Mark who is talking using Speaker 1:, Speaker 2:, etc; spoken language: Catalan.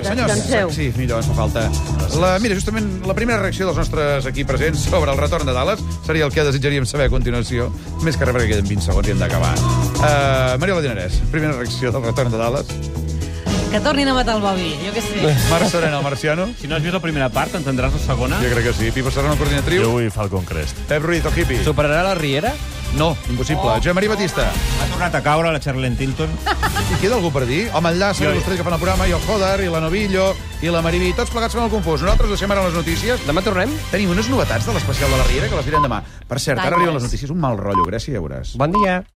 Speaker 1: Senyors, doncs
Speaker 2: Danseu.
Speaker 1: sí, millor, ens fa falta. La, mira, justament la primera reacció dels nostres aquí presents sobre el retorn de Dallas seria el que desitjaríem saber a continuació, més que res perquè queden 20 segons i hem d'acabar. Uh, Mariola Dinarès, primera reacció del retorn de Dallas.
Speaker 3: Que tornin a matar el Bobby, jo què sé.
Speaker 1: Marc Serena, el marciano.
Speaker 4: Si no has vist la primera part, entendràs la segona.
Speaker 1: Jo crec que sí. Pipo Serrano, coordinatriu.
Speaker 5: Jo vull Falcon Crest.
Speaker 1: Pep Ruiz, el hippie.
Speaker 4: Superarà la Riera?
Speaker 1: No, impossible. Oh. Joan Maria Batista.
Speaker 6: Ha tornat a caure la Charlene Tilton.
Speaker 1: I queda algú per dir? Home, enllà,
Speaker 6: Jo.
Speaker 1: senyors, vostès que fan el programa, i el Joder, i la Novillo, i la Mariví, tots plegats fan el confús. Nosaltres deixem ara les notícies.
Speaker 4: Demà tornem?
Speaker 1: Tenim unes novetats de l'especial de la Riera que les direm demà. Per cert, ara
Speaker 3: Vaja.
Speaker 1: arriben les notícies, un mal rotllo, Grècia, ja veuràs.
Speaker 4: Bon dia.